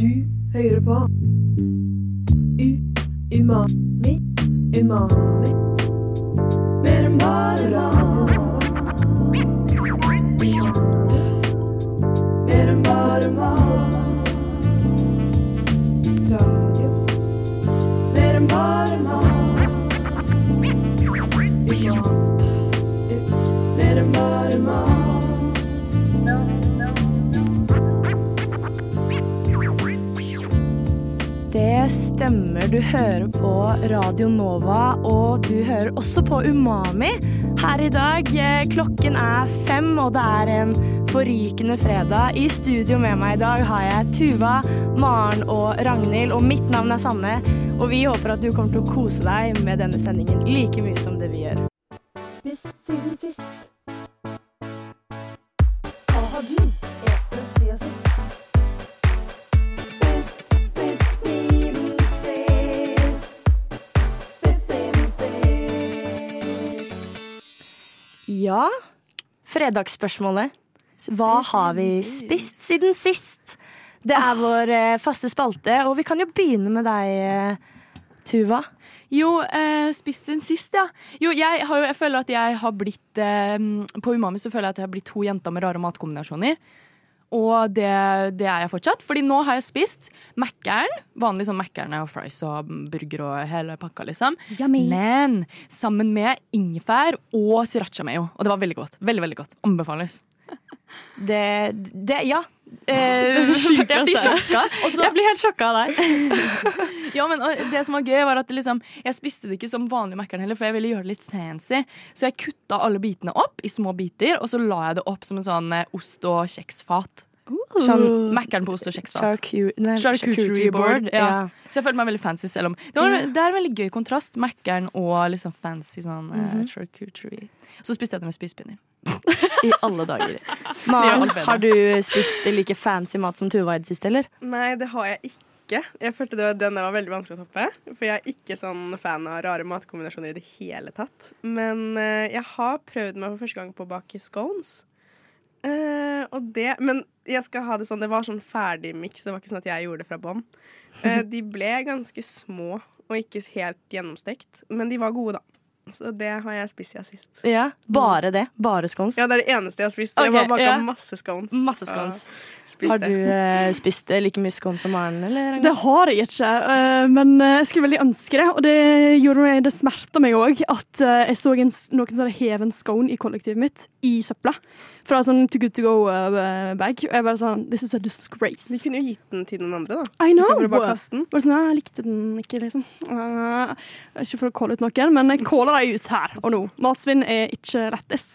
Du hører på U Umami Umami Mer enn bare mat Mer enn bare mat Radio Mer enn bare mat Umami Mer enn bare mat Det stemmer. Du hører på Radio Nova, og du hører også på Umami her i dag. eh, Klokken er fem, og det er en forrykende fredag. I studio med meg i dag har jeg Tuva, Maren og Ragnhild, og mitt navn er Sanne. Og vi håper at du kommer til å kose deg med denne sendingen like mye som det vi gjør. Spist siden sist. Hva har du etet siden sist? Spist, spist siden sist. Spist siden sist. Ja, fredagsspørsmålet. Hva har vi spist siden sist? Det Ah. er vår eh, faste spalte, og vi kan jo begynne med deg, eh, Tuva. Jo, eh, spist den sist, ja. Jo, jeg, har, jo- jeg føler at jeg har blitt eh, På Umami så føler jeg at jeg har blitt to jenter med rare matkombinasjoner. Og det, det er jeg fortsatt, Fordi nå har jeg spist Mækkern. Vanlig sånn Mækkern og fries og burger og hele pakka, liksom. Men sammen med ingefær og sriracha mayo. Og det var veldig godt. Veldig, veldig godt. Anbefales. Det, det Ja. Eh, jeg blir sjokka. Og så- Jeg blir helt sjokka av deg. Ja, men og det som var gøy var at det liksom, Jeg spiste det ikke som vanlig Mækkern heller, for jeg ville gjøre det litt fancy. Så jeg kutta alle bitene opp i små biter, og så la jeg det opp som en sånn eh, ost- og kjeksfat. Sånn Mækkern på ost- og kjeksfat. charcu- nei, Charcuterie board, ja. Ja. Så jeg følte meg veldig fancy selv om Det, var, det er en veldig gøy kontrast. Mækkern og liksom fancy sånn eh, charcuterie. Så spiste jeg det med spisepinner. I alle dager. Det Maren, gjør alt bedre. har du spist like fancy mat som Tuva i det siste, eller? Nei, det har jeg ikke. Jeg følte det var, den der var veldig vanskelig å toppe. For jeg er ikke sånn fan av rare matkombinasjoner i det hele tatt. Men eh, jeg har prøvd meg for første gang på å bake scones. Eh, og det Men jeg skal ha det sånn, det var sånn ferdigmiks. Det var ikke sånn at jeg gjorde det fra bånn. Eh, de ble ganske små og ikke helt gjennomstekt. Men de var gode, da. Så det har jeg spist siden sist. Ja. Bare det? Bare scones? Ja, det er det eneste jeg har spist. Ok, jeg har baka ja. masse scones. Masse scones. Og spist Har det. du eh, spist eh, like mye scones som Maren, eller? Ragnhild? Det har jeg ikke, eh, men eh, jeg skulle veldig ønske det. Og det gjorde meg, det smerta meg òg at eh, jeg så en, s- noen som hadde hevet en scone i kollektivet mitt i søpla. Fra sånn to good to go-bag. Og jeg bare sånn This is a De disgrace. kunne jo gitt den til noen andre, da. I know! Istedenfor å bare kaste den. Bare sånn, jeg likte den ikke, liksom. Eh, ikke for å calle ut noen, men jeg caller deg ut her og nå. Matsvinn er ikke lettis.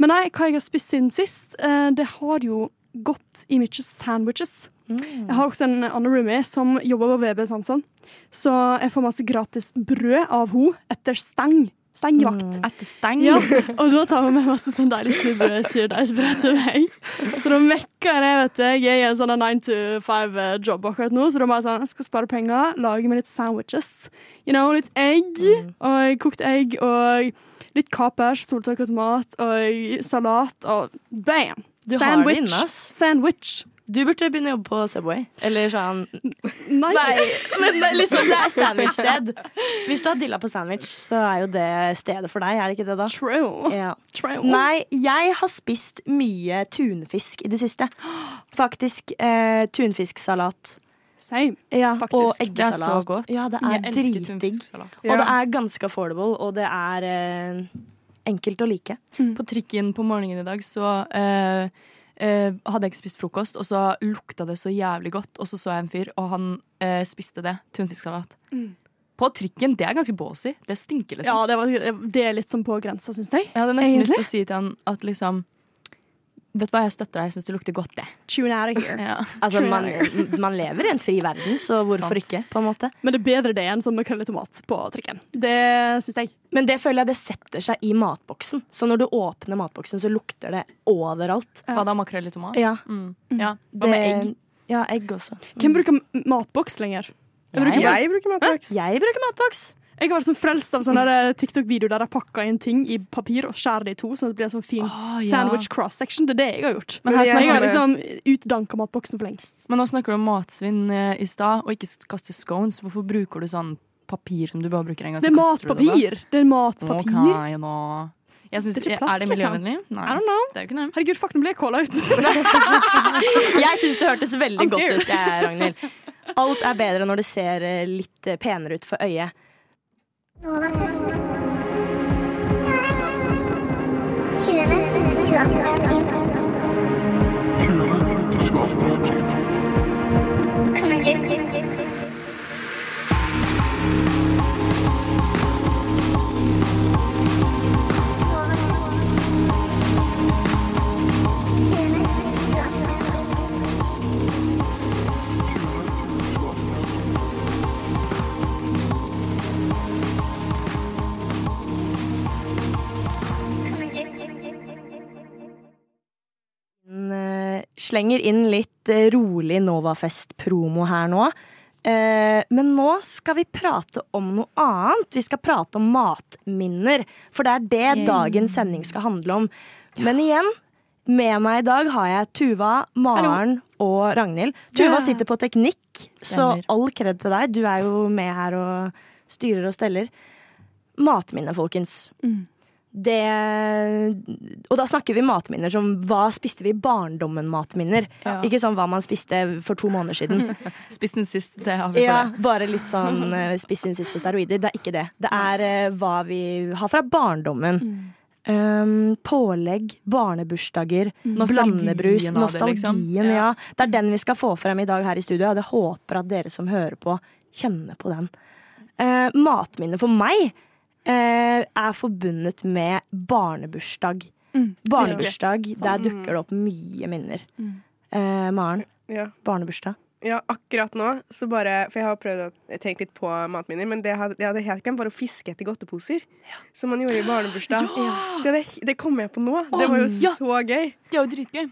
Men nei, hva jeg har spist siden sist, eh, det har jo gått i mye sandwiches. Jeg har også en annen roomie som jobber på VB Sandsson, så jeg får masse gratis brød av henne etter steng. Stengvakt. Etter steng. Ja, Mm. og da tar vi med masse sånn deilig smulbrød surdeigsbrød til meg. Så da mekker jeg det, vet du. Jeg er i en sånn 9 to 5-jobb akkurat nå, så da må jeg sånn, jeg skal spare penger, lage meg litt sandwiches. You know, litt egg, Mm. og kokt egg, og litt kapers, soltak og tomat, og salat, og bam! Du har det Sandwich. inne, ass. Sandwich. Du burde begynne å jobbe på Subway. Eller sånn Nei. Nei, men det er liksom det er sandwichsted. Hvis du har dilla på sandwich, så er jo det stedet for deg, er det ikke det, da? True. Ja. True. Nei, jeg har spist mye tunfisk i det siste. Faktisk. Eh, tunfisksalat. Same. Ja, og Faktisk. eggesalat. Det er så godt. Ja, det Jeg er elsker dritdigg. tunfisksalat. Og det er ganske affordable, og det er eh, enkelt å like. På trikken på morgenen i dag så eh, eh, hadde jeg ikke spist frokost, og så lukta det så jævlig godt. Og så så jeg en fyr, og han eh, spiste det. Tunfisksalat. På trikken, det er ganske ballsy. Det stinker, Ja, liksom. det, var, det er litt sånn på grensa, syns jeg. Jeg hadde nesten Egentlig? lyst til å si til han at liksom Vet du hva, jeg støtter deg. Jeg syns det lukter godt, det. Tune out of here. Ja. Altså, True. man, man lever i en fri verden, så hvorfor Sant. ikke? på en måte Men det er bedre det enn sånn makrell i tomat på trikken. Det syns jeg. Men det føler jeg det setter seg i matboksen. Så når du åpner matboksen, så lukter det overalt. Hva da, makrell i tomat? Ja, Mm. ja. Hva det, med egg? Ja, egg også. Mm. Hvem bruker m- matboks lenger? Jeg bruker, Jeg. bare- Jeg bruker matboks. Jeg bruker matboks. Jeg har vært sånn frelst av sånne der TikTok-videoer der de pakker inn ting i papir og skjærer det i to, sånn at det blir en sånn fin Å, Ah, ja. sandwich cross-section. Det er det jeg har gjort. Men sånn her jeg, snakker har vi- liksom utdanka matboksen for lengst. Men nå snakker du om matsvinn eh, i stad, og ikke s- kaste scones. Hvorfor bruker du sånn papir som du bare bruker en gang? Det så er kaster du det bare? matpapir! Det er matpapir. Ok, nå. Jeg synes, Det er, er ikke plast, det liksom. miljøvennlig? Nei. I don't know. Det er jo ikke det. Herregud, fuck, nå ble jeg calla ut. Jeg syns det hørtes veldig I'm godt scared. ut, jeg, Ragnhild. Alt er bedre når det ser eh, litt eh, penere ut for øyet. Novafest. 20. til 22. april. 20. til 22. april. Kommer du? Novafest. 20. til 22. april. Den, eh, slenger inn litt eh, rolig Novafest-promo her nå. Eh, Men nå skal vi prate om noe annet. Vi skal prate om matminner. For det er det dagens sending skal handle om. Men igjen, med meg i dag har jeg Tuva, Maren og Ragnhild. Tuva sitter på teknikk, så Stemmer. all kred til deg. Du er jo med her og styrer og steller. Matminner, folkens. Det Og da snakker vi matminner som hva spiste vi i barndommen-matminner. Ja. Ikke sånn hva man spiste for to måneder siden. Spist den sist, det har vi ja, for det. bare litt sånn eh, spiss inn sist på steroider. Det er ikke det. Det er eh, hva vi har fra barndommen. Mm. Um, pålegg, barnebursdager, Mm. Nostalgien blandebrus, av det, liksom. nostalgien. Ja. ja. Det er den vi skal få frem i dag her i studio, og jeg håper at dere som hører på, kjenner på den. Uh, matminnet for meg eh, er forbundet med barnebursdag. Mm. Barnebursdag, der dukker det opp mye minner. Mm. Eh, Maren, Ja. barnebursdag. Ja, akkurat nå, så bare For jeg har prøvd å tenke litt på matminner, men det jeg hadde, det jeg hadde helt glemt, var å fiske etter godteposer. Som man gjorde i barnebursdag. Det, hadde- det kom jeg på nå. Det var jo ja. så gøy. Det er jo dritgøy.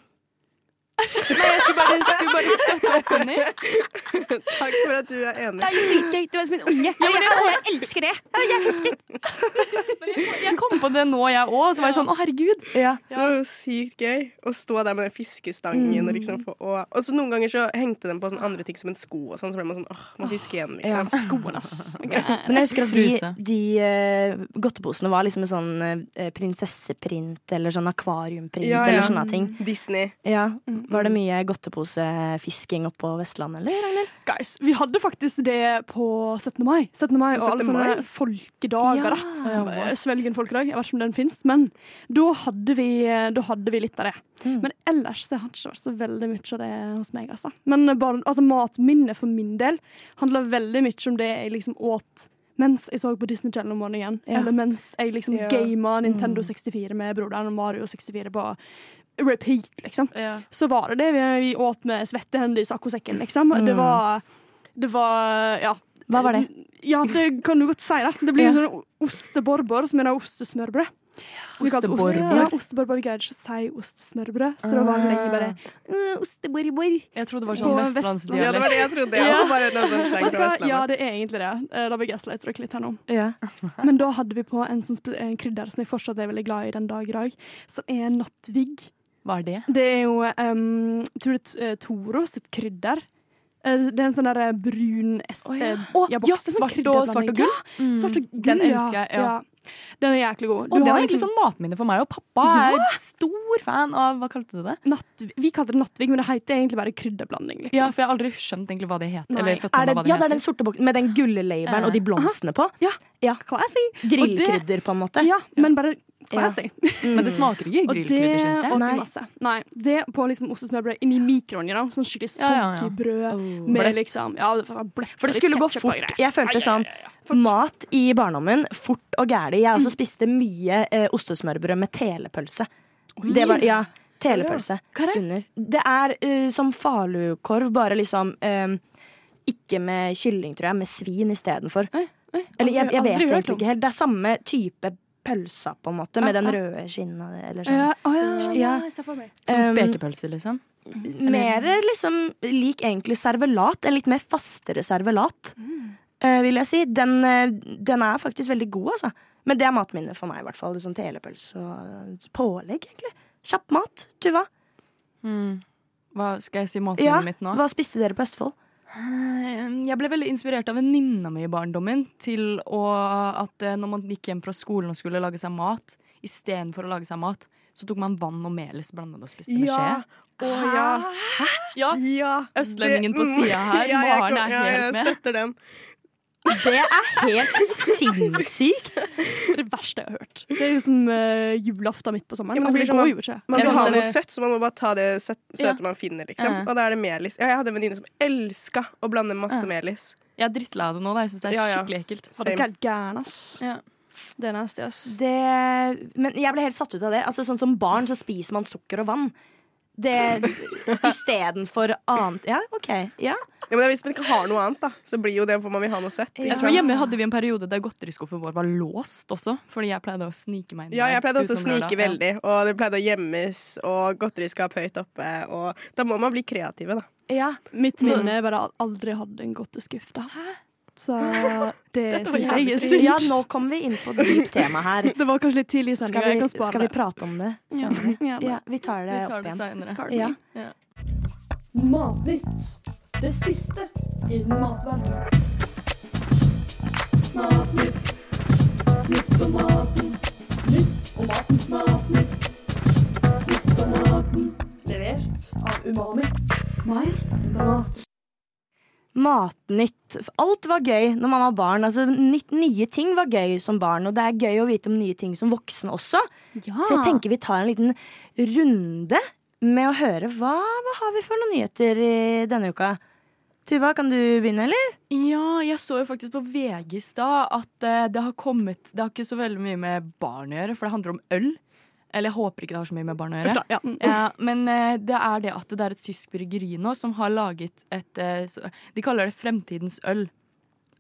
Nei, jeg skulle bare, skulle bare støtte opp under. Takk for at du er enig. Ja, men jeg, jeg elsker det! Jeg husket! Jeg kom på det nå, jeg òg. Så var jeg sånn å, herregud. Det var jo sykt gøy å stå der med den fiskestangen. Og, Mm. liksom få, og, og så noen ganger så hengte den på sånne andre ting som en sko, og sånn, så ble man sånn åh, må fiske igjen, Ja. liksom. Skoene, ass. Men jeg husker at de, Truse. de eh, godteposene var liksom en sånn eh, prinsesseprint eller sånn akvariumprint Ja, Mm. ja. eller sånne ting. Disney. Ja, Var det mye godteposefisking oppå Vestlandet, eller? Ragnhild? Guys, vi hadde faktisk det på 17. mai. 17. mai og alle 17. mai? sånne folkedager. da. Ja, Eh, what? Svelgen folkedag. Jeg vet ikke om den finnes, men da hadde vi, eh, da hadde vi litt av det. Men ellers så har det ikke vært så veldig mye av det hos meg. Altså. Men bare, altså, matminnet for min del handler veldig mye om det jeg liksom åt mens jeg så på Disney Channel om morgenen. Ja. Eller mens jeg liksom Ja. gama Nintendo 64 med broderen og Mario 64 på repeat, liksom Ja. så var det det vi, vi åt med svette hender i saccosekken, liksom. Det var Det var Ja. Hva var det? Eh, Ja, det kan du godt si, da. Det blir Ja. en sånn osteborber som er da ostesmørbrød. Som vi kalte oste- Osteborber? Ja, osteborber. Vi greide ikke å si ostesmørbrød, så da var det lenge bare Ah. «Øh, Osteborber. Jeg trodde det var På sånn Vestlandet. Ja, det vestlandsdialekt. var det jeg trodde. Jeg Ja. var bare noe sånn slang Vet du fra hva? Ja, Vestlandet. det er egentlig det. Eh, Da ble gaslighter dere litt her nå. Ja. Men da hadde vi på en, sånn sp- en krydder som jeg fortsatt er veldig glad i den dag i dag, som er nattvig. Hva er det? Det er jo um, tror det er t- eh, Toro sitt krydder. Eh, Det er en sånn der eh, brun S... Å, ja. eh, Å, ja, ja, boks. Det er sånn svart og- krydderblanding. svart og gull? Ja, mm. svart og gull, Den elsker jeg, ja. Den er jæklig god. Og Du det har var egentlig liksom sånn matminne for meg, og pappa er stor fan av Hva kalte du det? natt, Vi kaller det nattvig, men det heter egentlig bare krydderblanding. Liksom. Ja, for jeg har aldri skjønt egentlig hva det het. Nei. Eller fått Er med det, meg hva det ja, det er den heter. sorte boksen med den gulle labelen og de blomstene på. Ja. Ja. Classy. Og Grillkrydder, på en måte. det- Ja, men bare classy. Men det smaker ikke Og det grillkrydder, syns jeg. åt Nei. vi masse. Nei, det på liksom ostesmørbrød inni mikroen, you know, sånn skikkelig Ja, ja, ja. soggy brød Oh. med Bløtt. liksom Ja, det var bløtt. For det litt skulle gå ketchup og fort. greier. Jeg følte Ja, ja, ja, sånn ja, Mm. ja. Mat i barndommen, fort og gæli. Jeg også spiste mye eh, ostesmørbrød med telepølse. Det var, ja, telepølse under. Det er eh, som falukorv, bare liksom eh, Ikke med kylling, tror jeg, med svin istedenfor. Eller jeg, jeg aldri vet hørt egentlig om. Ah, ikke helt. Det er samme type pølsa, på en måte, med den røde skinna eller sånn. Ja, å, Ja. ja, ja, jeg ser for meg. Sånn Um, spekepølse, liksom. Mm. Mer liksom lik egentlig servelat. En litt mer fastere servelat. eh, vil jeg si. Den, eh, den er faktisk veldig god, altså. Men det er matminnet for meg, i hvert fall. Sånn telepølse og eh, pålegg, egentlig. Kjapp mat. Tuva, Hmm. Hva skal jeg si matminnet ja, mitt nå? um, hva spiste dere på Østfold? Jeg ble veldig inspirert av venninna mi i barndommen til å, at eh, når man gikk hjem fra skolen og skulle lage seg mat, istedenfor å lage seg mat, så tok man vann og melis blandet og spiste med skje. Å ja. Ja, ja. Østlendingen Det- mm. på sida her. Ja, jeg Maren kom- er ja, helt med. Jeg støtter den. Det er helt sinnssykt. Det er det verste jeg har hørt. Det er jo som eh, julaften midt på sommeren. Ja, men altså, det det blir går sånn jo ikke. Man Jeg skal synes ha det noe er- søtt, så man må bare ta det søt, Ja. søte man finner, liksom. Ja. Og da er det melis. Ja, jeg hadde en venninne som elska å blande masse Ja. melis. Jeg er drittlei av det nå. Da. Jeg syns det er Ja, ja. skikkelig ekkelt. Det er helt gæren, ass. Ja. Det er nasty, ass. Det, men jeg ble helt satt ut av det. Altså, sånn Som barn så spiser man sukker og vann. Det Istedenfor annet Ja, OK. Ja. Ja, men hvis man ikke har noe annet, da, så blir jo det for man vil ha noe søtt. Ja. Jeg tror Hjemme hadde vi en periode der godteriskuffen vår var låst også, fordi jeg pleide å snike meg inn Ja, der jeg pleide også å utenom lørdag. snike veldig, og det pleide å gjemmes, og godteriskap høyt oppe, og da må man bli kreative, da. ja. Mitt minne er bare at jeg aldri hadde en godteskuff. da. Så det Dette var syns jeg er jævlig sykt. ja, nå kommer vi inn på et dypt tema her. Det var kanskje litt tidlig i Skal sendinga. Jeg vi, kan spare skal vi prate om det? Ja. Ja, Ja, vi tar det Vi tar opp det igjen. senere. Skal vi? Ja. Matnytt. Det siste innen matverdenen. Matnytt. Nytt om maten. Nytt om maten. Matnytt. Nytt om maten. Levert av Umami. Mer mat. Matnytt. Alt var gøy når man var barn. Altså, nytt, nye ting var gøy som barn, og det er gøy å vite om nye ting som voksne også. Så jeg tenker vi tar en liten runde med å høre hva, hva har vi for noen nyheter i denne uka. Tuva, kan du begynne, eller? Ja, jeg så jo faktisk på VG i stad at eh, det har kommet Det har ikke så veldig mye med barn å gjøre, for det handler om øl. Eller jeg håper ikke det har så mye med barn å gjøre. Ja. Ja, men eh, det er det at det er et tysk bryggeri nå som har laget et eh, så- De kaller det fremtidens øl.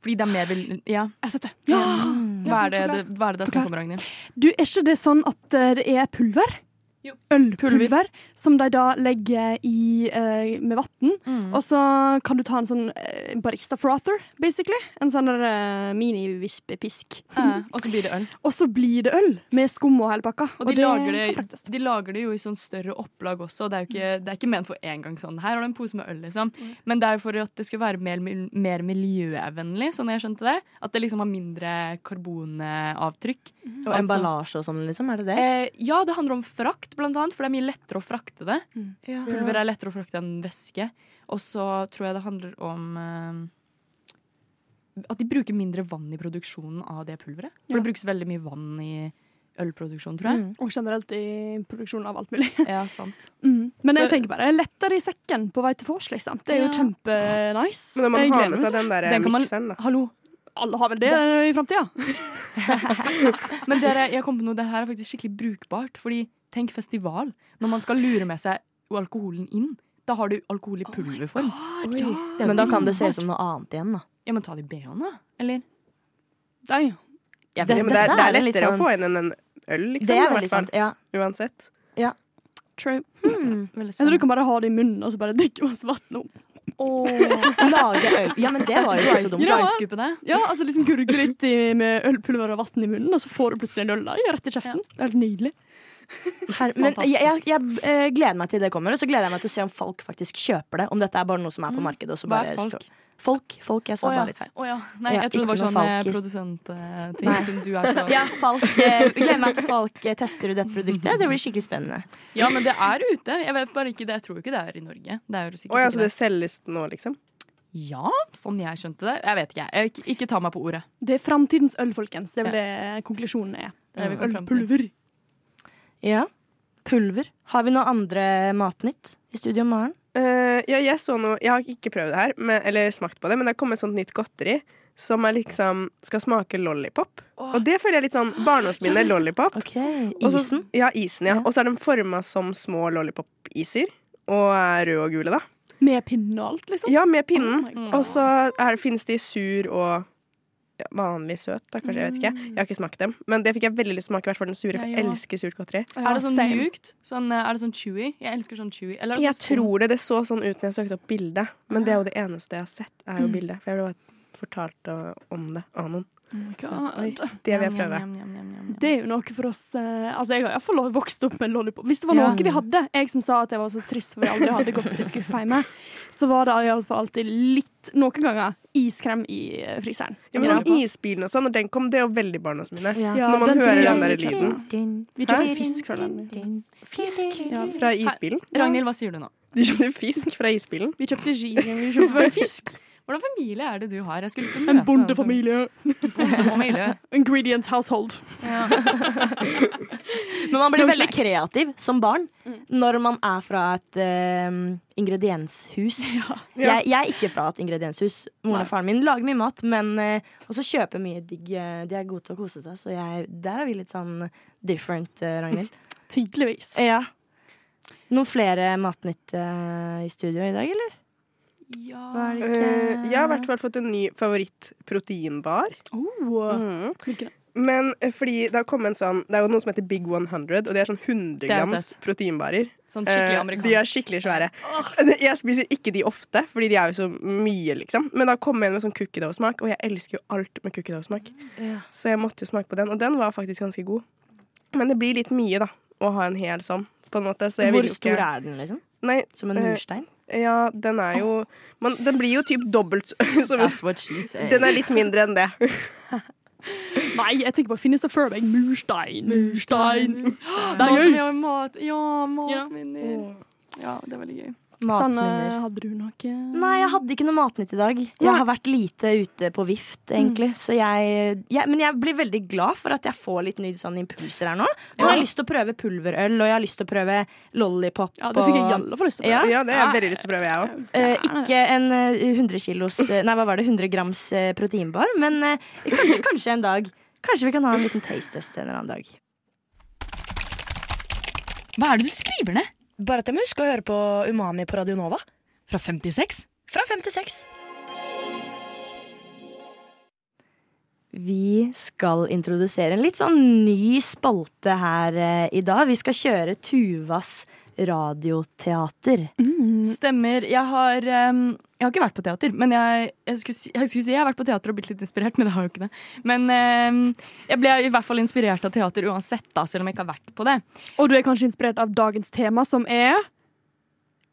Fordi det er mer vil- Ja. Jeg setter. Ja! Mm. Hva er det det, hva er det det er snakk om, Ragnhild? Du, er ikke det sånn at eh, det er pulver? Jo. Ølpulver, som de da legger i, eh, med vann. Og så kan du ta en sånn eh, barista frother, basically. En sånn der, eh, mini-vispepisk. Eh, og så blir det øl. Og så blir det øl med skum og hele pakka. Og de, lager kan det, fraktes. de lager det jo i sånn større opplag også. og Det er jo ikke, det er ikke ment for én gang sånn. Her har du en pose med øl, liksom. Men det er jo for at det skal være mer, mil- mer miljøvennlig, sånn jeg skjønte det. At det liksom har mindre karbonavtrykk. Og Altså- emballasje og sånn, liksom. Er det det? Eh, ja, det handler om frakt, blant annet, for det er mye lettere å frakte det. Pulver er lettere å frakte enn væske. Og så tror jeg det handler om eh, at de bruker mindre vann i produksjonen av det pulveret. For det brukes veldig mye vann i ølproduksjon, tror jeg. Og generelt i produksjonen av alt mulig. Ja, sant. Mm. Men jeg Så- tenker bare lettere i sekken på vei til vors, liksom. Det er jo Ja. kjempenice. Men når man Jeg har gleder med meg. seg den der Den kan man- mikseren, da. Hallo. Alle har vel det eh, i framtida? Men dere, jeg kom på noe, det her er faktisk skikkelig brukbart. Fordi tenk festival. Når man skal lure med seg alkoholen inn, da har du alkohol i pulverform. ja. Det er jo Men da kan det se brukbart. ut som noe annet igjen, da. Ja, men ta det i BH-en, da. Eller? Nei. Jeg Det- Ja, men det, er, dette det er er en litt lettere sånn- å få inn enn en øl, liksom. Det i er hvert veldig fall. sant. Ja. Uansett. True. Veldig Jeg tror du spennende. kan bare ha det i munnen og så bare drikke masse vann opp. Lage øl. Ja, men det var jo ikke så dumt. Ja. Dry scoop det. Ja, altså liksom gurgle litt i, med ølpulver og vann i munnen, og så får du plutselig en øl da, ja, rett i kjeften. Det er helt nydelig. Her, men jeg, jeg, jeg eh, gleder meg til det kommer, og så gleder jeg meg til å se om folk faktisk kjøper det. Om dette er bare noe som er på markedet. Og så Mm. Hva er bare folk? står- folk? Folk, jeg sa Å Sånn, ja. bare litt feil. Å ja. Nei, Ja, jeg trodde det var ikke noe sånn eh, falkis. produsentting som du er så Ja, folk, eh, gleder meg til folk eh, tester ut dette produktet. Det blir skikkelig spennende. Ja, men det er ute. Jeg vet bare ikke det. Jeg tror ikke det er i Norge. Det er jo sikkert Å ja, ikke så det selges nå, liksom? Ja, sånn jeg skjønte det. Jeg vet ikke, jeg. jeg. Ikke, ikke ta meg på ordet. Det er framtidens øl, folkens. Det er vel det konklusjonen er. Det er det vi kommer frem til. Ølpulver. Ja. Pulver. Har vi noe andre matnytt i studio i morgen? Eh, ja, jeg så noe Jeg har ikke prøvd det her, men, eller smakt på det, men det har kommet et sånt nytt godteri som er liksom skal smake lollipop. Og det føler jeg er litt sånn barndomsminne lollipop. Ok, Og så- Isen? Ja, isen, ja. Ja. Og så er den forma som små lollipop-iser. Og er røde og gule, da. Med pinne og alt, liksom. Ja, med pinnen. Oh my og så er det- finnes de sur og ja, vanlig søt, da, kanskje. Jeg vet ikke. Jeg har ikke smakt dem. Men det fikk jeg veldig lyst til å smake, i hvert fall den sure. For Ja, jeg jo. elsker surt godteri. Ja, er det sånn same. mjukt? Sånn, eh, er det sånn chewy? Jeg elsker sånn chewy. Eller er det Jeg sånn Mm. tror det. Det så sånn ut når jeg søkte opp bildet, men det er jo det eneste jeg har sett, er jo bildet. For jeg ble bare fortalte om det av noen. Oi, God. det vil jeg prøve. Njam, njam, njam, njam, njam. Det er jo noe for oss eh, Altså, jeg har iallfall vokst opp med lollipop. Hvis det var Ja. noe vi hadde, jeg som sa at jeg var så trist for vi aldri hadde gått til skuffeime, så var det iallfall alltid litt, noen ganger, iskrem i eh, fryseren. Ja, men sånn Isbilen og sånn, når den kom, det er jo veldig barnas minne. Ja. Når man den hører tror den der jeg vi lyden Vi kjøpte fisk fra den. Fisk. Ja. fra isbilen Ragnhild, hva sier du nå? Du kjøpte fisk fra isbilen? Vi kjøpte giring, vi kjøpte bare fisk. Hvordan familie er det du har? Jeg skulle ikke møte En denne bondefamilie. bondefamilie. Ingredient household. Men man blir Noen veldig snacks. kreativ som barn når man er fra et eh, ingredienshus. Jeg, jeg er ikke fra et ingredienshus. Moren og faren min lager mye mat, men eh, også kjøper mye digg. eh, De er gode til å kose seg, så jeg, der er vi litt sånn different, eh, Ragnhild. Tydeligvis. Ja. Noen flere Matnytt eh, i studio i dag, eller? Ja. Var det ikke Eh, jeg har i hvert fall fått en ny favorittproteinbar. Oh, Mm. hvilken? Men eh, fordi det har kommet en sånn Det er jo noe som heter Big 100, og det er sånn har 100 jeg grams sett. proteinbarer. Sånn Eh, skikkelig De er amerikansk. skikkelig svære. Jeg spiser ikke de ofte, fordi de er jo så mye, liksom. Men da kom jeg inn med sånn cookie-dough-smak, og jeg elsker jo alt med cookie-dough-smak. Ja. Så jeg måtte jo smake på den, og den var faktisk ganske god. Men det blir litt mye, da, å ha en hel sånn, på en måte. Så jeg Hvor vil jo stor ikke er den, liksom? Nei, Som en eh, murstein? ja, den er jo Men den blir jo typ dobbelt som en That's what she said. Den er litt mindre enn det. Nei, jeg tenker bare finnes det før meg. Murstein. Murstein. Det er gøy. gøy! Mat. Ja, matminner. Ja, det er veldig gøy. Sanne, Matminner. hadde du noe? Nei, jeg hadde ikke noe matnytt i dag. Jeg har vært lite ute på vift, egentlig. Så jeg, jeg, men jeg blir veldig glad for at jeg får litt nye sånne impulser her nå. Nå har jeg lyst til å prøve pulverøl, og jeg har lyst til å prøve lollipop. Ja, det fikk jeg og- i alle fall lyst til å Ja. Ja, det har jeg veldig lyst til å prøve, jeg òg. Eh, ikke en eh, 100 kilos eh, Nei, hva var det? 100 grams eh, proteinbar. Men eh, kanskje, kanskje en dag. Kanskje vi kan ha en liten taste test en eller annen dag. Hva er det du skriver ned? Bare at jeg må huske å høre på Umami på Radio Nova. Fra 56? Fra fem til seks. Vi skal introdusere en litt sånn ny spalte her eh, i dag. Vi skal kjøre Tuvas radioteater. Mm. Stemmer. Jeg har, ehm, jeg har ikke vært på teater, men jeg, jeg, skulle si, jeg skulle si jeg har vært på teater og blitt litt inspirert, men det har jeg jo ikke det. Men ehm, jeg ble i hvert fall inspirert av teater uansett, da, selv om jeg ikke har vært på det. Og du er kanskje inspirert av dagens tema, som er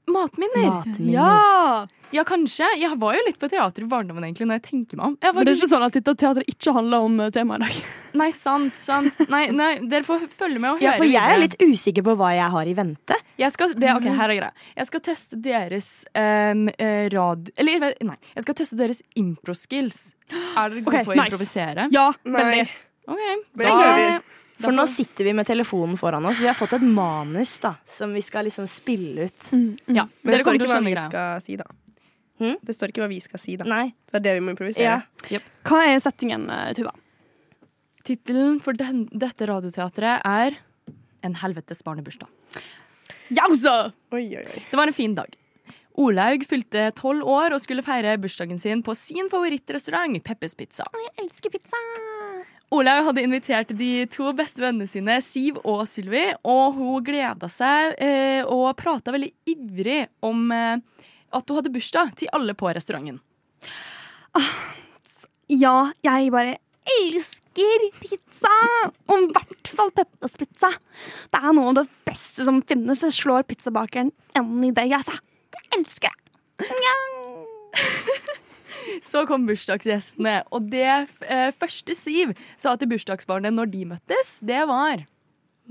Matminner! Matminner. Ja! Ja, kanskje. Jeg var jo litt på teater i barndommen, egentlig, når jeg tenker meg om. Jeg var Men det er faktisk- ikke sånn at dette teatret ikke handler om eh, temaet i dag. Nei, sant, sant. Nei, nei, dere får følge med og høre. Ja, for jeg er videre. litt usikker på hva jeg har i vente. Jeg skal, det, ok, her er greia. Jeg skal teste deres um, radio... Eller, nei. Jeg skal teste deres impro-skills. Er dere gode Ok, på å nice. improvisere? Ja, Nei. veldig. Ok. Mhm. Men jeg prøver. Eh, For nå sitter vi med telefonen foran oss. Vi har fått et manus da, som vi skal liksom spille ut. Ja, Men det dere står kommer til ikke å hva skjønne vi greia. skal si, da. Hm? Det står ikke hva vi skal si, da. Nei. Så det er det vi må improvisere. Ja. Hva er settingen, eh, Tuva? Tittelen for den, dette radioteatret er En helvetes barnebursdag. Jausa! Oi, oi, oi. Det var en fin dag. Olaug fylte tolv år og skulle feire bursdagen sin på sin favorittrestaurant, Peppers Pizza. Jeg elsker pizza! Olaug hadde invitert de to beste vennene sine, Siv og Sylvi, og hun gleda seg eh, og prata veldig ivrig om eh, at hun hadde bursdag til alle på restauranten. Ja, jeg bare elsker pizza! Og i hvert fall pepperspizza. Det er noe av det beste som finnes. Jeg slår pizzabakeren any day, altså. Jeg elsker det. Så kom bursdagsgjestene, og det eh, første Siv sa til bursdagsbarnet når de møttes, det var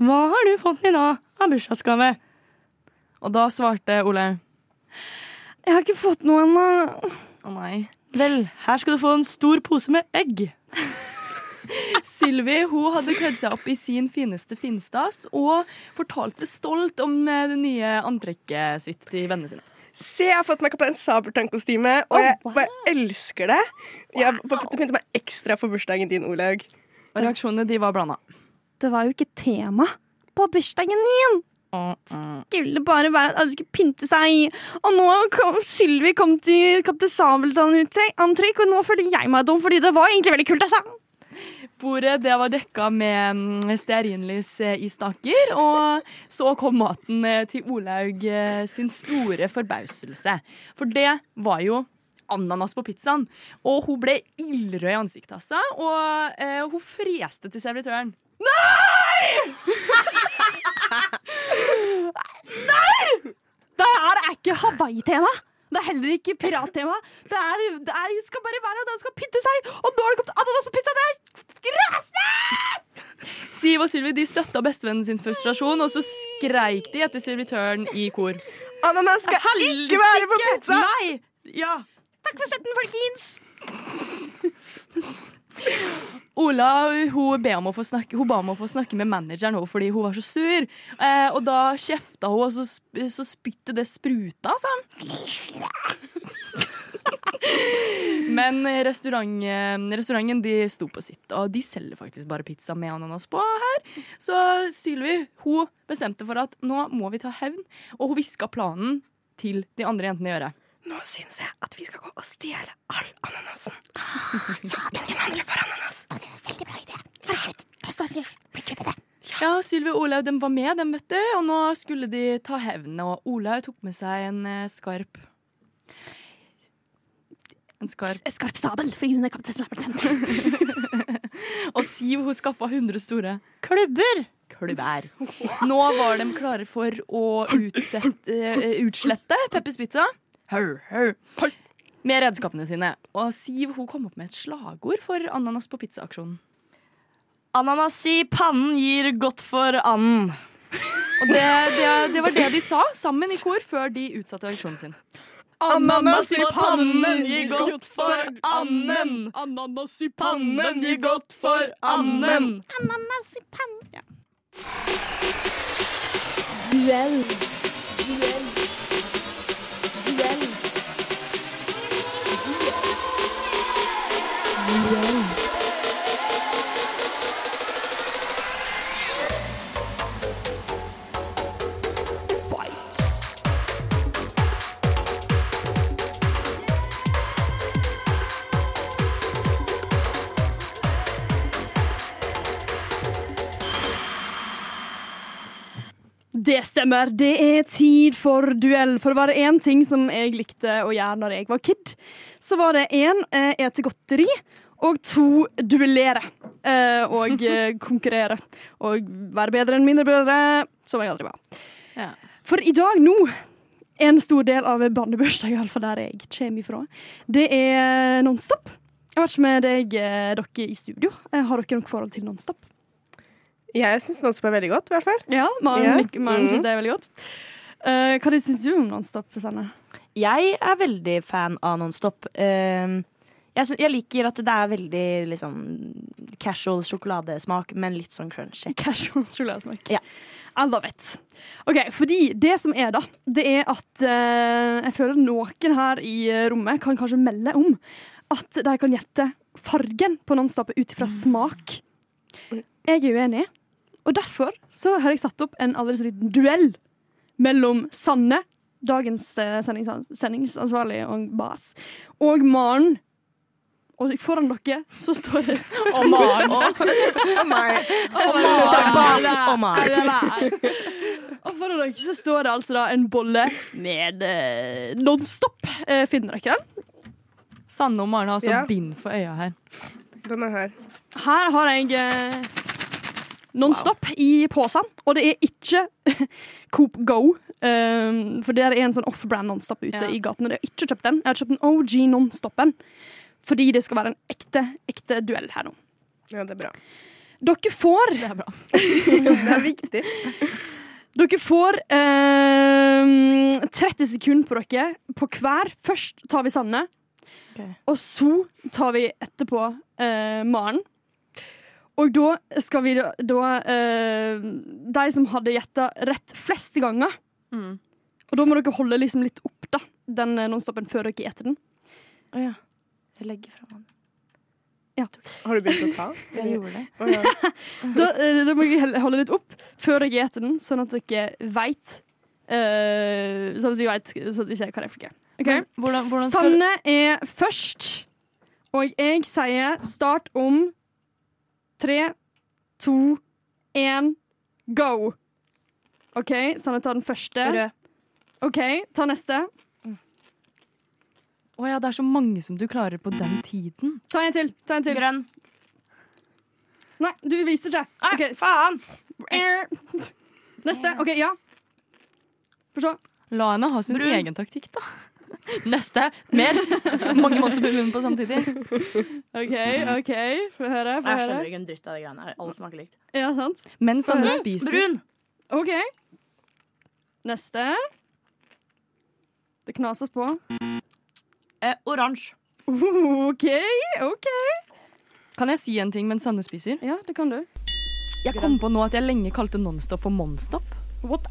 Hva har du fått i dag av bursdagsgave? Og da svarte Olaug Jeg har ikke fått eh, noe ennå. å nei. Vel, her skal du få en stor pose med egg. Sylvi hun hadde kledd seg opp i sin fineste finstas og fortalte stolt om eh, det nye antrekket sitt til vennene sine. Se, jeg har fått makeup på en sabeltannkostyme, og jeg bare elsker det. Jeg bare pynter meg ekstra for bursdagen din, Olaug. Og reaksjonene de var blanda. Det var jo ikke tema på bursdagen min. Skulle bare være at alle skulle pynte seg. Og nå kom Sylvi kom til Kaptein Sabeltann-antrekk, og nå føler jeg meg dum, fordi det var egentlig veldig kult, altså. Bordet det var dekka med mm, stearinlys eh, i staker, og så kom maten eh, til Olaug eh, sin store forbauselse. For det var jo ananas på pizzaen. Og hun ble ildrød i ansiktet av seg, og eh, hun freste til servitøren. Det her er ikke Hawaii-tema. Det er heller ikke pirat-tema. Det, er- det er- skal bare være at han skal pynte seg, og nå har det kommet ananas på pizzaen! Det er rasende! Siv og Sylvi de støtta bestevennen sin frustrasjon, og så skreik de etter servitøren i kor. Ananas skal ikke være på pizza! Nei! Ja. Takk for støtten, folkens! Ola hun ba, om å få snakke, hun ba om å få snakke med manageren hun, fordi hun var så sur. Eh, og da kjefta hun, og så, sp- så spyttet det altså. spruta, sa han. Men restaurant, restauranten de sto på sitt, og de selger faktisk bare pizza med ananas på her. Så Sylvi hun bestemte for at nå må vi ta hevn, og hun hviska planen til de andre jentene i øret. Nå syns jeg at vi skal gå og stjele all ananasen. Så ingen andre får ananas. Ja, Sylvi og Olaug de var med, dem, vet du. Og nå skulle de ta hevn. Og Olaug tok med seg en eh, skarp En skarp. Skarp sabel, fordi hun er kaptein Sabeltann. Og Siv hun skaffa 100 store klubber. Klubber. Nå var de klare for å utsette, eh, utslette Peppers Pizza. Hau, hau. Med redskapene sine. Og Siv hun kom opp med et slagord for ananas på pizza-aksjonen. Ananas i pannen gir godt for anden. Og det, det, det var det de sa sammen i kor før de utsatte aksjonen sin. Ananas i pannen gir godt for anden. Ananas i Pannen gir godt for anden. Det stemmer. Det er tid for duell. For det var én ting som jeg likte å gjøre når jeg var kid, så var det én eh, ete godteri og to duellere. Eh, og eh, konkurrere. Og være bedre enn mindre brødre, som jeg aldri var. Ja. For i dag nå en stor del av barnebursdagen, iallfall der jeg kommer ifra, det er Nonstop. Jeg vet ikke med deg, eh, dere i studio. Eh, Har dere noe forhold til Nonstop? Jeg syns Nonstop er veldig godt, i hvert fall. Ja, Maren, Ja. lik- Maren Mhm. syns det er veldig godt. Eh, hva syns du om Nonstop? Sanne? Jeg er veldig fan av Nonstop. Eh, Jeg, sy- jeg liker at det er veldig liksom, casual sjokoladesmak, men litt sånn crunchy. Casual sjokoladesmak. Ja. Alle vet. OK, fordi det som er, da, det er at eh, jeg føler noen her i eh, rommet kan kanskje melde om at de kan gjette fargen på Nonstop ut ifra smak. Jeg er uenig, og derfor så har jeg satt opp en aldri så liten duell mellom Sanne, dagens eh, sendings sendingsansvarlig og bas, og Maren. Og foran dere så står det Og Maren. Å nei. Bass og mat. Og foran dere så står det altså da en bolle med eh, Nonstop. Eh, finner dere den? Sanne og Maren har altså Ja. bind for øya her. Den er her. Her har jeg eh, Nonstop i posen, og det er ikke Coop Go. eh, for det er en sånn off-brand Nonstop ute Ja. i gaten, og jeg har ikke kjøpt den. Jeg har kjøpt den OG Nonstopen fordi det skal være en ekte, ekte duell her nå. Ja, det er bra. Dere får Det er bra. Det er viktig. Dere får eh, 30 sekunder på dere på hver. Først tar vi Sanne. Og så tar vi etterpå eh, Maren. Og da skal vi da, da eh, De som hadde gjetta rett flest ganger Mm. Og da må dere holde liksom litt opp da den eh, nonstopen før dere eter den. Å ja. Jeg legger fra meg den. Har du begynt å ta? Jeg gjorde det. Å ja. Da, eh, da må dere holde litt opp før dere eter den, sånn at dere veit eh, Sånn at vi vet, sånn at vi ser hva det er for noe. Ok? Hvordan, hvordan skal Sanne er først, og jeg sier start om tre, to, én, go. OK, Sanne tar den første. Rød. OK, ta neste. Å ja, det er så mange som du klarer på den tiden. Ta en til. ta en til. Grønn. Nei, du viser ikke. Nei, Ok. faen! Eh. Neste. OK, ja. Få se. La henne ha sin egen taktikk, da. Neste. Mer. Mange måter i munnen på samtidig. OK, OK. Få høre. Nei, jeg Få høre. skjønner ikke en dritt av de greiene her. Alle smaker likt. Ja, sant? Men Sanne Brun, spiser Brun! OK. Neste. Det knases på. Eh, Oransje. Uh, OK, OK. Kan jeg si en ting mens Sanne spiser? Ja, det kan du. Jeg kom på nå at jeg lenge kalte Nonstop for Monstop. What?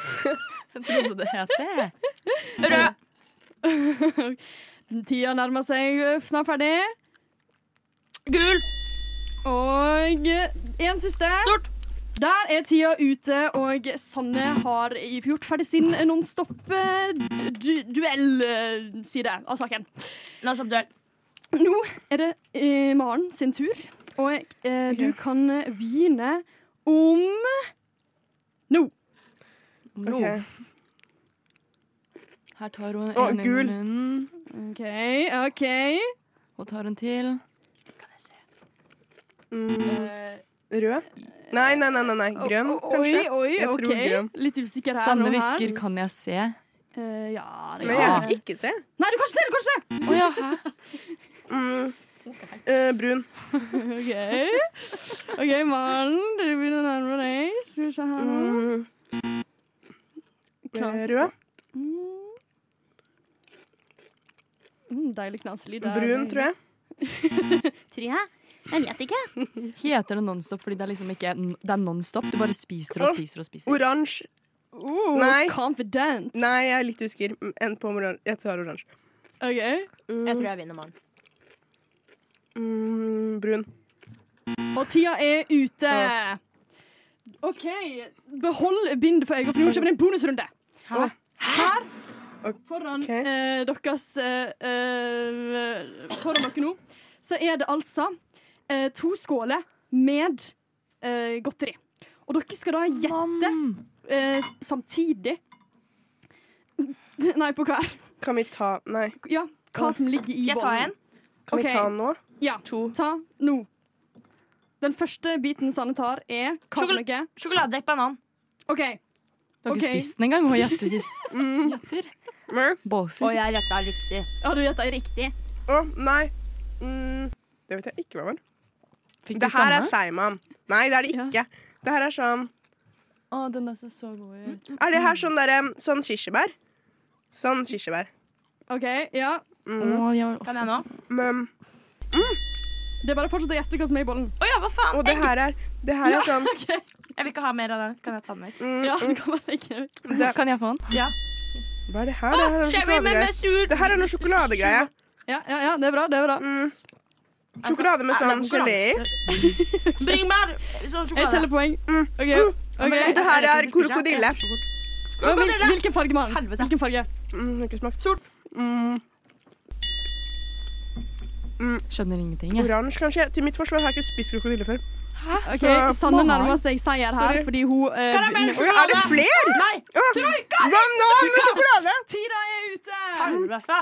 Jeg trodde det het det. Rød. Tida nærmer seg eh, snart ferdig. Gul. Og eh, en siste. Sort. Der er tida ute, og Sanne har gjort ferdig sin eh, nonstop-duell-side eh, av saken. La oss opp duell. Nå er det eh, Maren sin tur, og eh, du kan begynne om nå. Nå. Ok. Her tar hun en Å, i gul. munnen OK, OK. og tar en til. Mm, Eh, rød? Nei, nei, nei, nei, nei. grønn, O- kanskje? Oi, oi, Jeg tror OK. grønn. Litt usikker her. Sanne og her. hvisker 'kan jeg se'? Eh, ja, det Men kan Ja. jeg jeg. fikk ikke se. Nei, du kan ikke se! Du kan ikke se! Å ja, hæ? Mm. Eh, brun. OK, Ok, Maren, du begynner å nærme deg. Skal vi se her nå. Mm. Eh, Rød. Mm. Mm, deilig knaselyd. der. Brun, tror jeg. Heter det Nonstop fordi det er liksom ikke Det er Nonstop. Du bare spiser og spiser og spiser. Oransje. Oh, Nei. Confident. Nei, jeg er litt usikker. Mm, En på oransje. Jeg tar oransje. Ok. Jeg tror jeg vinner morgen. Mm, brun. Og tida er ute. OK, behold bindet for øyet, for nå kommer det en bonusrunde. Hæ? Her Ok. foran eh, deres eh, eh, Foran dere nå, så er det altså eh, to skåler med eh, godteri. Og dere skal da gjette Mann. eh, samtidig Nei, på hver. Kan vi ta Nei. Ja, hva som ligger i Skal jeg ta bollen. en? Kan Ok. vi ta nå? Ja. To. Ta nå. Den første biten Sanne tar, er hva for Sjokol- noe? Sjokoladedekk banan. OK. Du har ikke Ok. spist den engang. Hun gjetter. Mm. Mørk. Bolser. Og jeg gjetta riktig. Har du gjetta riktig? Riktig. Å, nei. Mm. Det vet jeg ikke hva var. Fikk Det du her er samme? Seiman. Nei, det er det ikke. Det her er sånn Å, den der ser så god ut. Er det her sånn derre Sånn kirsebær? Sånn kirsebær. OK, ja. Mm. Å, jeg vil Kan også. jeg nå? Men, Det er bare å fortsette å gjette hva som er i bollen. Å ja, hva faen? og det her er Det her er sånn Jeg vil ikke ha mer av den. Kan jeg ta den vekk? mm, Ja, mm, det kan man legge ut. det, Kan jeg få den? Ja. Hva er det her? Det her er noe Sherry med sjokoladegreier. mesur. Det her er noe sjokoladegreie. Ja, ja, ja, det er bra. det er bra. Mm. Sjokolade med sånn gelé i. Bring mer sånn Jeg sjokolade. teller poeng. OK. Og ok. det her er krokodille. Og hvil- Hvilken farge, Maren? Helvete. Hvilken farge? Mm, har ikke smakt. Sort. Mm, Skjønner ingenting. Jeg. Oransje, kanskje. Til mitt forsvar har jeg ikke spist krokodille før. Ok, Så- Sanne nærmer seg seier her Sorry. fordi hun eh, Oi, Er det fler? Nei! Troika! Banan med sjokolade! Tida er ute! Helvete.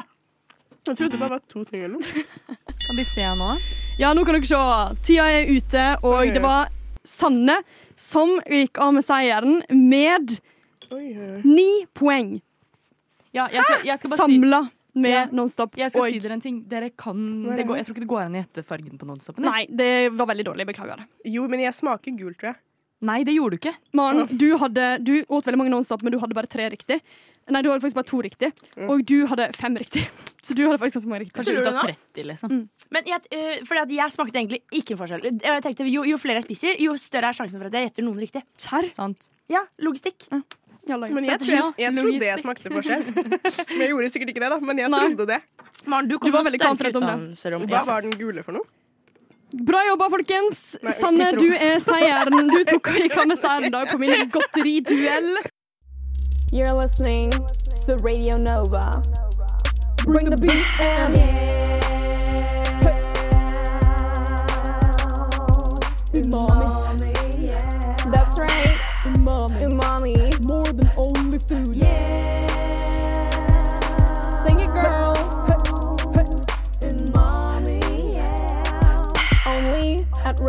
Jeg trodde det bare var to ting eller noe. Kan de se nå? Ja, nå kan dere se. Tida er ute, og det var Sanne som gikk av med seieren med Oi, oi, oi. ni poeng Ja, jeg skal, jeg skal bare si samla med Ja. Nonstop. Jeg skal og si dere en ting. Dere kan, er det det går, jeg tror ikke det går an å gjette fargen på nonstopen. Nei, det var veldig dårlig. Beklager. Jo, men jeg smaker gul, tror jeg. Nei, det gjorde du ikke. Maren, du, hadde, du åt veldig mange Nonstop, men du hadde bare tre riktig. Nei, du hadde faktisk bare to riktig, og du hadde fem riktig. Så du hadde faktisk ganske mange riktig. Kanskje Tror ut du av nå? 30, liksom. Men jeg, eh, fordi at jeg smakte egentlig ikke en forskjell. Jeg tenkte, jo, jo flere jeg spiser, jo større er sjansen for at jeg gjetter noen riktig. Serr? Sant. Ja, logistikk. Ja, la- Men jeg, tror jeg, jeg trodde jeg smakte forskjell. Men jeg gjorde sikkert ikke det, da. Men jeg Nei. trodde det. Maren, du, var veldig confident om det. Hva var den gule for noe? Bra jobba, folkens! Nei, Sanne, sikker du er seieren. Du tok og gikk av med seieren i dag på min godteriduell. You're listening to Radio Nova. Bring the beat and umami. That's right, umami. Umami. More than only food. Yeah. Sing it, girls.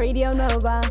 Radio Nova.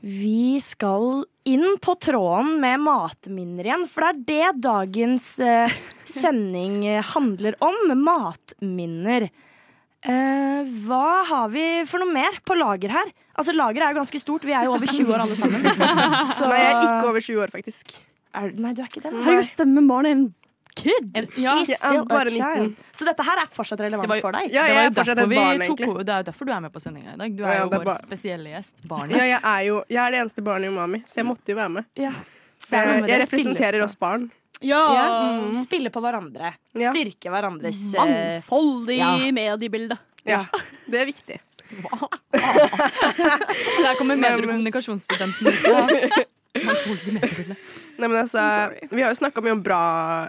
Vi skal inn på tråden med matminner igjen, for det er det dagens eh, sending eh, handler om. Matminner. Eh, hva har vi for noe mer på lager her? Altså, Lageret er jo ganske stort. Vi er jo over 20 år alle sammen. Så- Nei, jeg er ikke over 20 år, faktisk. Er- Nei, du er ikke det. nei. Herregud, stemmen barn er en Kid! Ja, She's jeg er still a bare child. 19. Så dette her er fortsatt relevant Det var jo- for deg? Ja, det, jeg var er jo fortsatt derfor et vi barn, tok, egentlig. det er jo derfor du er med på sendinga i dag. Du Ja, er ja, jo det er vår bare- spesielle gjest. Ja, Barnet. jeg er jo jeg er det eneste barnet i Umami, så jeg måtte jo være med. Ja. For Ja, men det jeg, jeg spiller representerer på. oss barn. Ja. Mm. Spille på hverandre. Ja. Styrke hverandres eh, mangfoldig ja. mediebilde. Ja, Det er viktig. Der kommer Nei, men- mediekommunikasjonsstudenten ut. Nei, men altså, vi har jo snakka mye om bra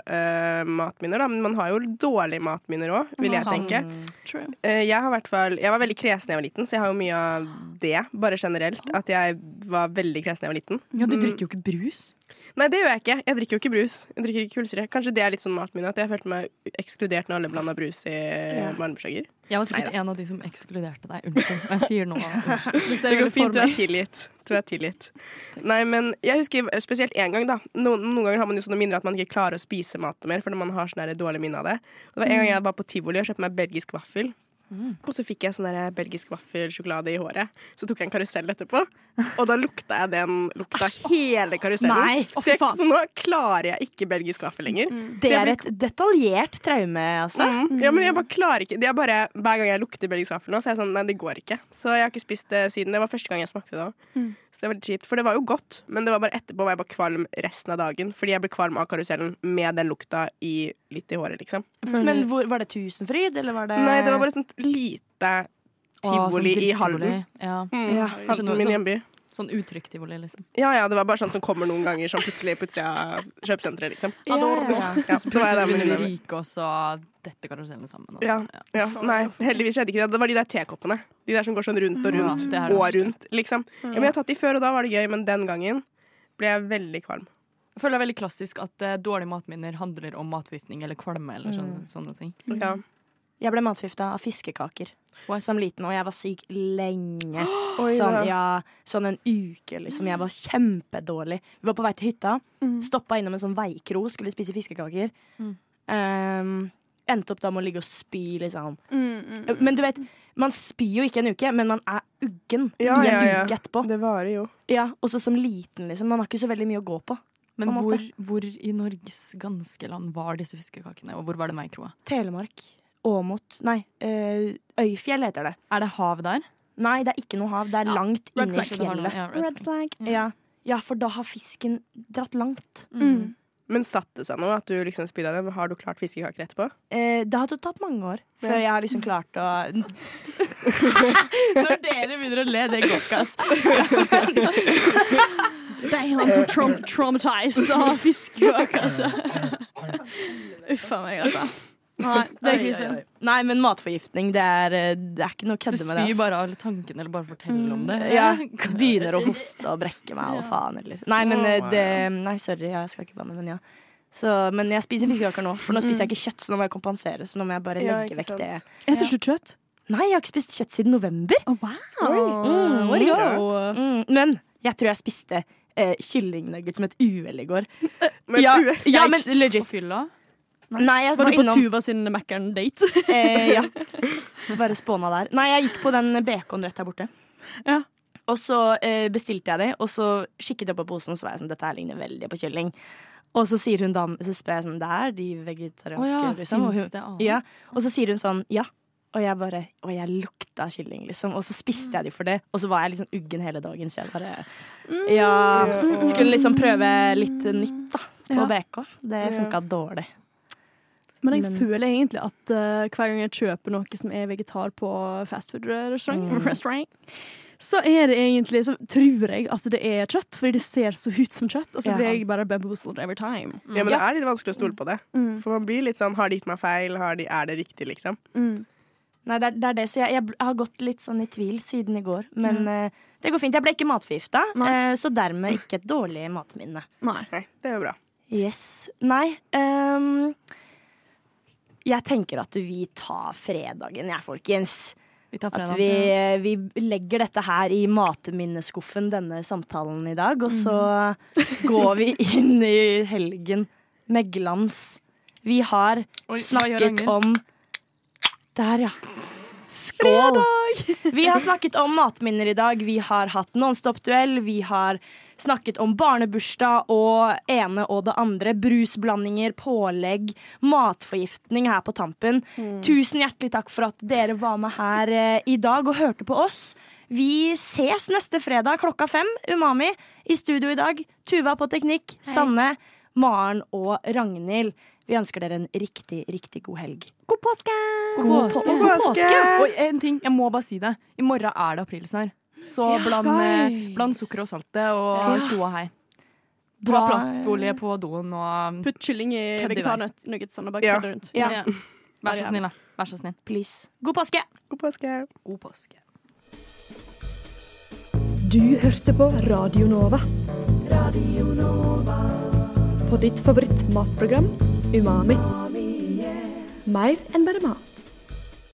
eh, matminner, da, men man har jo dårlige matminner òg, vil jeg Sant. tenke. True. Eh, jeg, har hvert fall, jeg var veldig kresen da jeg var liten, så jeg har jo mye av det, bare generelt. At jeg var veldig kresen da jeg var liten. Ja, du drikker jo ikke brus. Nei, det gjør jeg ikke. Jeg drikker jo ikke brus. Jeg drikker ikke kullsyre. Kanskje det er litt sånn matminne, at jeg følte meg ekskludert når alle blanda brus i ja. barnebursdager. Jeg var sikkert en av de som ekskluderte deg. Unnskyld. Jeg sier noe. Unnskyld. Det går fint. Du er tilgitt. Du er tilgitt. Nei, men jeg husker spesielt én gang, da. Noen, noen ganger har man jo sånne minner at man ikke klarer å spise mat noe mer, fordi man har sånn der dårlig minne av det. Og det var en gang jeg var på tivoli og kjøpte meg belgisk vaffel. Mm. Og så fikk jeg sånn der belgisk vaffelsjokolade i håret. Så tok jeg en karusell etterpå, og da lukta jeg den lukta hele karusellen. Nei, å, så, jeg, faen. Mm. så nå klarer jeg ikke belgisk vaffel lenger. Det er et detaljert traume, altså. Mm. Ja, men jeg bare klarer ikke det er bare, Hver gang jeg lukter belgisk vaffel nå, så er jeg sånn Nei, det går ikke. Så jeg har ikke spist det siden. Det var første gang jeg smakte det òg. Mm. Så det var litt kjipt. For det var jo godt, men det var bare etterpå var jeg bare kvalm resten av dagen. Fordi jeg ble kvalm av karusellen med den lukta i, litt i håret, liksom. Men hvor, var det Tusenfryd, eller var det Nei, det var bare et sånt lite Eh. Å, sånn tivoli i Halden. drittivoli. Ja. Mm, Ja. Halden, Skjønner, min sånn- hjemby. Sånn uttrykk-tivoli, liksom. Ja ja, det var bare sånn som kommer noen ganger, sånn plutselig på utsida av kjøpesenteret, liksom. Ja, ja, ja. Ja, så Så det var jeg plutselig der med begynner de venninnene. rike også. Dette karusellen sammen. altså. Også. Ja. Ja, nei, heldigvis skjedde ikke det. Det var de der tekoppene. De der som går sånn rundt og rundt Ja, det er det og verste. rundt, liksom. Ja, men jeg har tatt de før, og da var det gøy, men den gangen ble jeg veldig kvalm. Jeg føler det er veldig klassisk at eh, dårlige matminner handler om matforgiftning eller kvalme. eller sånne, Mm. sånne ting. Ja. Jeg ble matforgifta av fiskekaker What? som liten, og jeg var syk lenge. Oi, Sånn, ja. ja, sånn en uke, liksom. Jeg var kjempedårlig. Vi var på vei til hytta. Mm. Stoppa innom en sånn veikro, skulle spise fiskekaker. Um, endte opp da med å ligge og spy, liksom. Mm, Men du vet, man spyr jo ikke en uke, men man er uggen Ja, i en ja, ja. uke etterpå. Det varer jo. Ja, også som liten, liksom. Man har ikke så veldig mye å gå på. Men på en hvor, måte. hvor i Norges ganske land var disse fiskekakene, og hvor var det meikroa? Telemark, Åmot Nei, eh, Øyfjell heter det. Er det hav der? Nei, det er ikke noe hav. Det er langt Red inni flag. Det har noe- fjellet. ja, red Red flag. Mm. flag. Ja. ja, for da har fisken dratt langt. Men satt det seg noe at du liksom spydde av dem? Har du klart fiskekaker etterpå? Eh, det hadde tatt mange år før jeg har liksom klart å Når dere begynner å le, det går ikke, ass. Damn, for traum traumatized av fiskekake, altså. Uff a meg, altså. Nei, det er krise. Nei, men matforgiftning, det er, eh, det er ikke noe å Du kødde med det. Mm, spyr bare av tanken, eller bare forteller om det. Ja, begynner å hoste og brekke meg og faen eller Nei, men eh, det Nei, sorry, jeg skal ikke banne, men ja. Så, men jeg spiser fiskekaker nå, for nå spiser jeg ikke kjøtt, så nå må jeg kompensere. Så nå må jeg bare Ja, legge ikke vekk sant. det. Jeg heter ikke kjøtt. Nei, jeg har ikke spist kjøtt siden november. Mm, Oi, ja. Mm, men jeg tror jeg spiste eh, kyllingnuggets med et uhell i går. Men ja, du- ja, men Yikes. På legit. fylla? Nei, jeg Var var du på innom Tuva sin Mac'er'n-date? eh, ja. Bare spåna der. Nei, jeg gikk på den bacon rett her borte. Ja. Og så eh, bestilte jeg det, og så kikket jeg på posen, og så var jeg sånn Dette her ligner veldig på kylling. Og så sier hun dam, så spør jeg sånn Det er de Å vegetarianske, ja, liksom? Og finnes hun, det annet? ja. Og så sier hun sånn ja. Og jeg bare Og jeg lukta kylling, liksom. Og så spiste jeg de for det. Og så var jeg liksom uggen hele dagen, så jeg bare Mm. Ja. Skulle liksom prøve litt nytt, da. På Ja. BK. Det funka dårlig. Men jeg Men- føler egentlig at eh, hver gang jeg kjøper noe som er vegetar på fastfood-restaurant, Mm. restaurant, så er det egentlig, så tror jeg at det er kjøtt, fordi det ser så ut som kjøtt, og så Ja. blir jeg bare bamboozled every time. Ja, men det er litt vanskelig å stole på det. For man blir litt sånn Har de gitt meg feil? Har de, er det riktig, liksom? Nei, det er, det er det. Så jeg, jeg bl- har gått litt sånn i tvil siden i går. Men eh, det går fint. Jeg ble ikke matforgifta, eh, så dermed ikke et dårlig matminne. Nei. Nei, det er jo bra. Yes. Nei. ehm, jeg tenker at vi tar fredagen, jeg, folkens. Vi tar At fredag. vi, eh, vi legger dette her i matminneskuffen, denne samtalen i dag. Og så går vi inn i helgen med glans. Vi har Oi, hva gjør snakket Ragnhild? om Der, ja. Skål! Vi har snakket om matminner i dag. Vi har hatt Nonstop-duell. Vi har snakket om barnebursdag og ene og det andre. Brusblandinger, pålegg, matforgiftning her på tampen. Mm. Tusen hjertelig takk for at dere var med her eh, i dag og hørte på oss. Vi ses neste fredag klokka fem. Umami i studio i dag. Tuva på teknikk. Sanne, Maren og Ragnhild. Vi ønsker dere en riktig, riktig god helg. God påske! God på- påske. og god påske! Oi, en ting, jeg må bare si det. I morgen er det aprilsnarr. Så bland, eh, bland sukker og saltet og tjo og hei. Ta Bra. plastfolie på doen og Putt kylling i Kødd i vei. vegetarnuggets og bare Ja. kødde rundt. Ja. Ja. Vær så snill, da. Vær så snill. Please. God påske! God påske. God påske. Du hørte på Radio Nova. Radio Nova. På ditt favoritt matprogram, Umami. Mer enn bare mat.